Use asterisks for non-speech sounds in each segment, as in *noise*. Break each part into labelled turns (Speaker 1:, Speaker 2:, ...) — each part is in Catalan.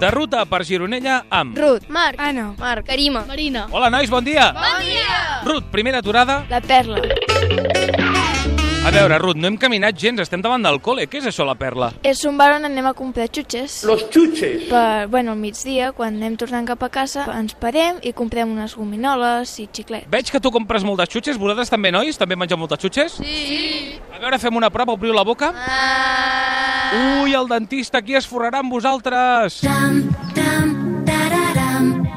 Speaker 1: De ruta per Gironella amb...
Speaker 2: Ruth, Marc,
Speaker 3: Anna,
Speaker 2: Marc, Karima,
Speaker 4: Marina.
Speaker 1: Hola, nois, bon dia!
Speaker 4: Bon dia!
Speaker 1: Ruth, primera aturada.
Speaker 2: la Perla.
Speaker 1: A veure, Ruth, no hem caminat gens, estem davant del col·le. Què és això, la perla?
Speaker 2: És un bar on anem a comprar xutxes.
Speaker 5: Los chuches.
Speaker 2: Per, bueno, al migdia, quan anem tornant cap a casa, ens parem i comprem unes gominoles i xiclets.
Speaker 1: Veig que tu compres moltes xutxes, vosaltres també, nois? També mengeu moltes xutxes?
Speaker 4: Sí.
Speaker 1: A veure, fem una prova, obriu la boca.
Speaker 4: Ah.
Speaker 1: Ui, el dentista aquí es forrarà amb vosaltres.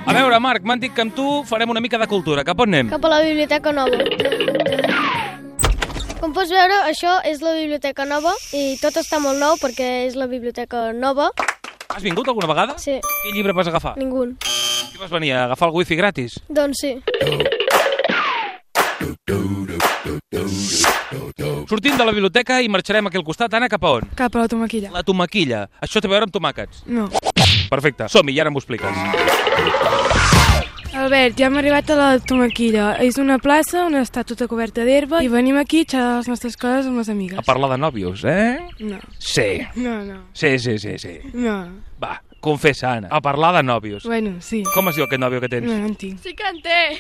Speaker 1: A veure, Marc, m'han dit que amb tu farem una mica de cultura. Cap on anem?
Speaker 4: Cap a la Biblioteca Nova. Com pots veure, això és la Biblioteca Nova i tot està molt nou perquè és la Biblioteca Nova.
Speaker 1: Has vingut alguna vegada?
Speaker 4: Sí,
Speaker 1: Quin llibre vas agafar?
Speaker 4: ningú.
Speaker 1: Què vas venir, a agafar el wifi gratis?
Speaker 4: Doncs sí.
Speaker 1: Sortim de la biblioteca i marxarem aquí al costat. Anna, cap a on?
Speaker 3: cap a la tomaquilla.
Speaker 1: La tomaquilla. Això té a veure amb tomàquets.
Speaker 3: No.
Speaker 1: Perfecte. Som-hi, i ara m'ho expliques.
Speaker 3: Albert, ja hem arribat a la tomaquilla. És una plaça on està tota coberta d'herba i venim aquí a xerrar les nostres coses amb les
Speaker 1: A
Speaker 3: amigues.
Speaker 1: parlar de nòvios, eh?
Speaker 3: No,
Speaker 1: Sí.
Speaker 3: no, no,
Speaker 1: Sí, sí, sí, sí.
Speaker 3: no.
Speaker 1: Va, confessa, Anna. A parlar de nòvios.
Speaker 3: Bueno, sí.
Speaker 1: Com es diu aquest nòvio que tens?
Speaker 4: Mm.
Speaker 3: No, no en tinc.
Speaker 4: Sí que en té.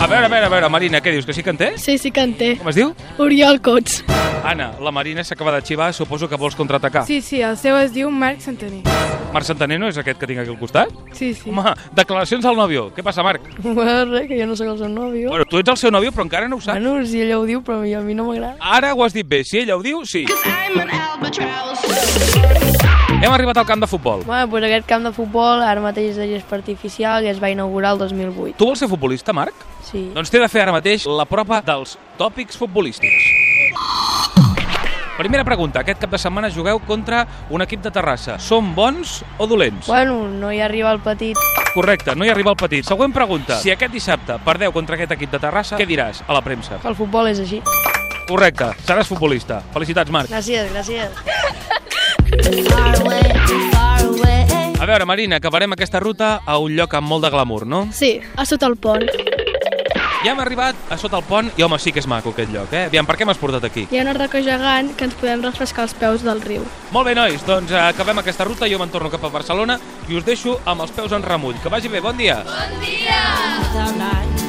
Speaker 1: A veure, a veure, a veure, Marina, què dius, que sí que en tens?
Speaker 4: Sí, sí que en té.
Speaker 1: Com es diu?
Speaker 4: Oriol Cots.
Speaker 1: Anna, la Marina s'acaba de xivar, suposo que vols contraatacar.
Speaker 3: Sí, sí, el seu es diu Marc Santaner.
Speaker 1: Marc Santaner no és aquest que tinc aquí al costat?
Speaker 3: Sí, sí.
Speaker 1: Home, declaracions al nòvio. Què passa, Marc?
Speaker 6: *laughs* Bueno, res, que jo no sóc el seu nòvio.
Speaker 1: Bueno, tu ets el seu nòvio, però encara no ho saps.
Speaker 6: Bueno, si ella ho diu, però a mi no m'agrada.
Speaker 1: Ara ho has dit bé, si ella ho diu, sí. Hem arribat al camp de futbol.
Speaker 6: Bueno, doncs aquest camp de futbol ara mateix és de gespa artificial i es va inaugurar el 2008.
Speaker 1: Tu vols ser futbolista, Marc?
Speaker 6: Sí.
Speaker 1: Doncs t'he de fer ara mateix la prova dels tòpics futbolístics. Primera pregunta. Aquest cap de setmana jugueu contra un equip de Terrassa. Són bons o dolents?
Speaker 6: Bueno, no hi arriba el petit.
Speaker 1: Correcte, no hi arriba el petit. Següent pregunta. Si aquest dissabte perdeu contra aquest equip de Terrassa, què diràs a la premsa?
Speaker 6: que El futbol és així.
Speaker 1: Correcte, seràs futbolista. Felicitats, Marc.
Speaker 6: Gràcies, gràcies.
Speaker 1: A veure, Marina, acabarem aquesta ruta a un lloc amb molt de glamour, no?
Speaker 4: Sí, a sota el pont.
Speaker 1: Ja hem arribat a sota el pont i, home, sí que és maco aquest lloc, eh? Aviam, per què m'has portat aquí?
Speaker 4: Hi ha una ardaca gegant que ens podem refrescar els peus del riu.
Speaker 1: Molt bé, nois, doncs eh, acabem aquesta ruta, jo me'n torno cap a Barcelona i us deixo amb els peus en remull. Que vagi bé, bon dia!
Speaker 7: all night.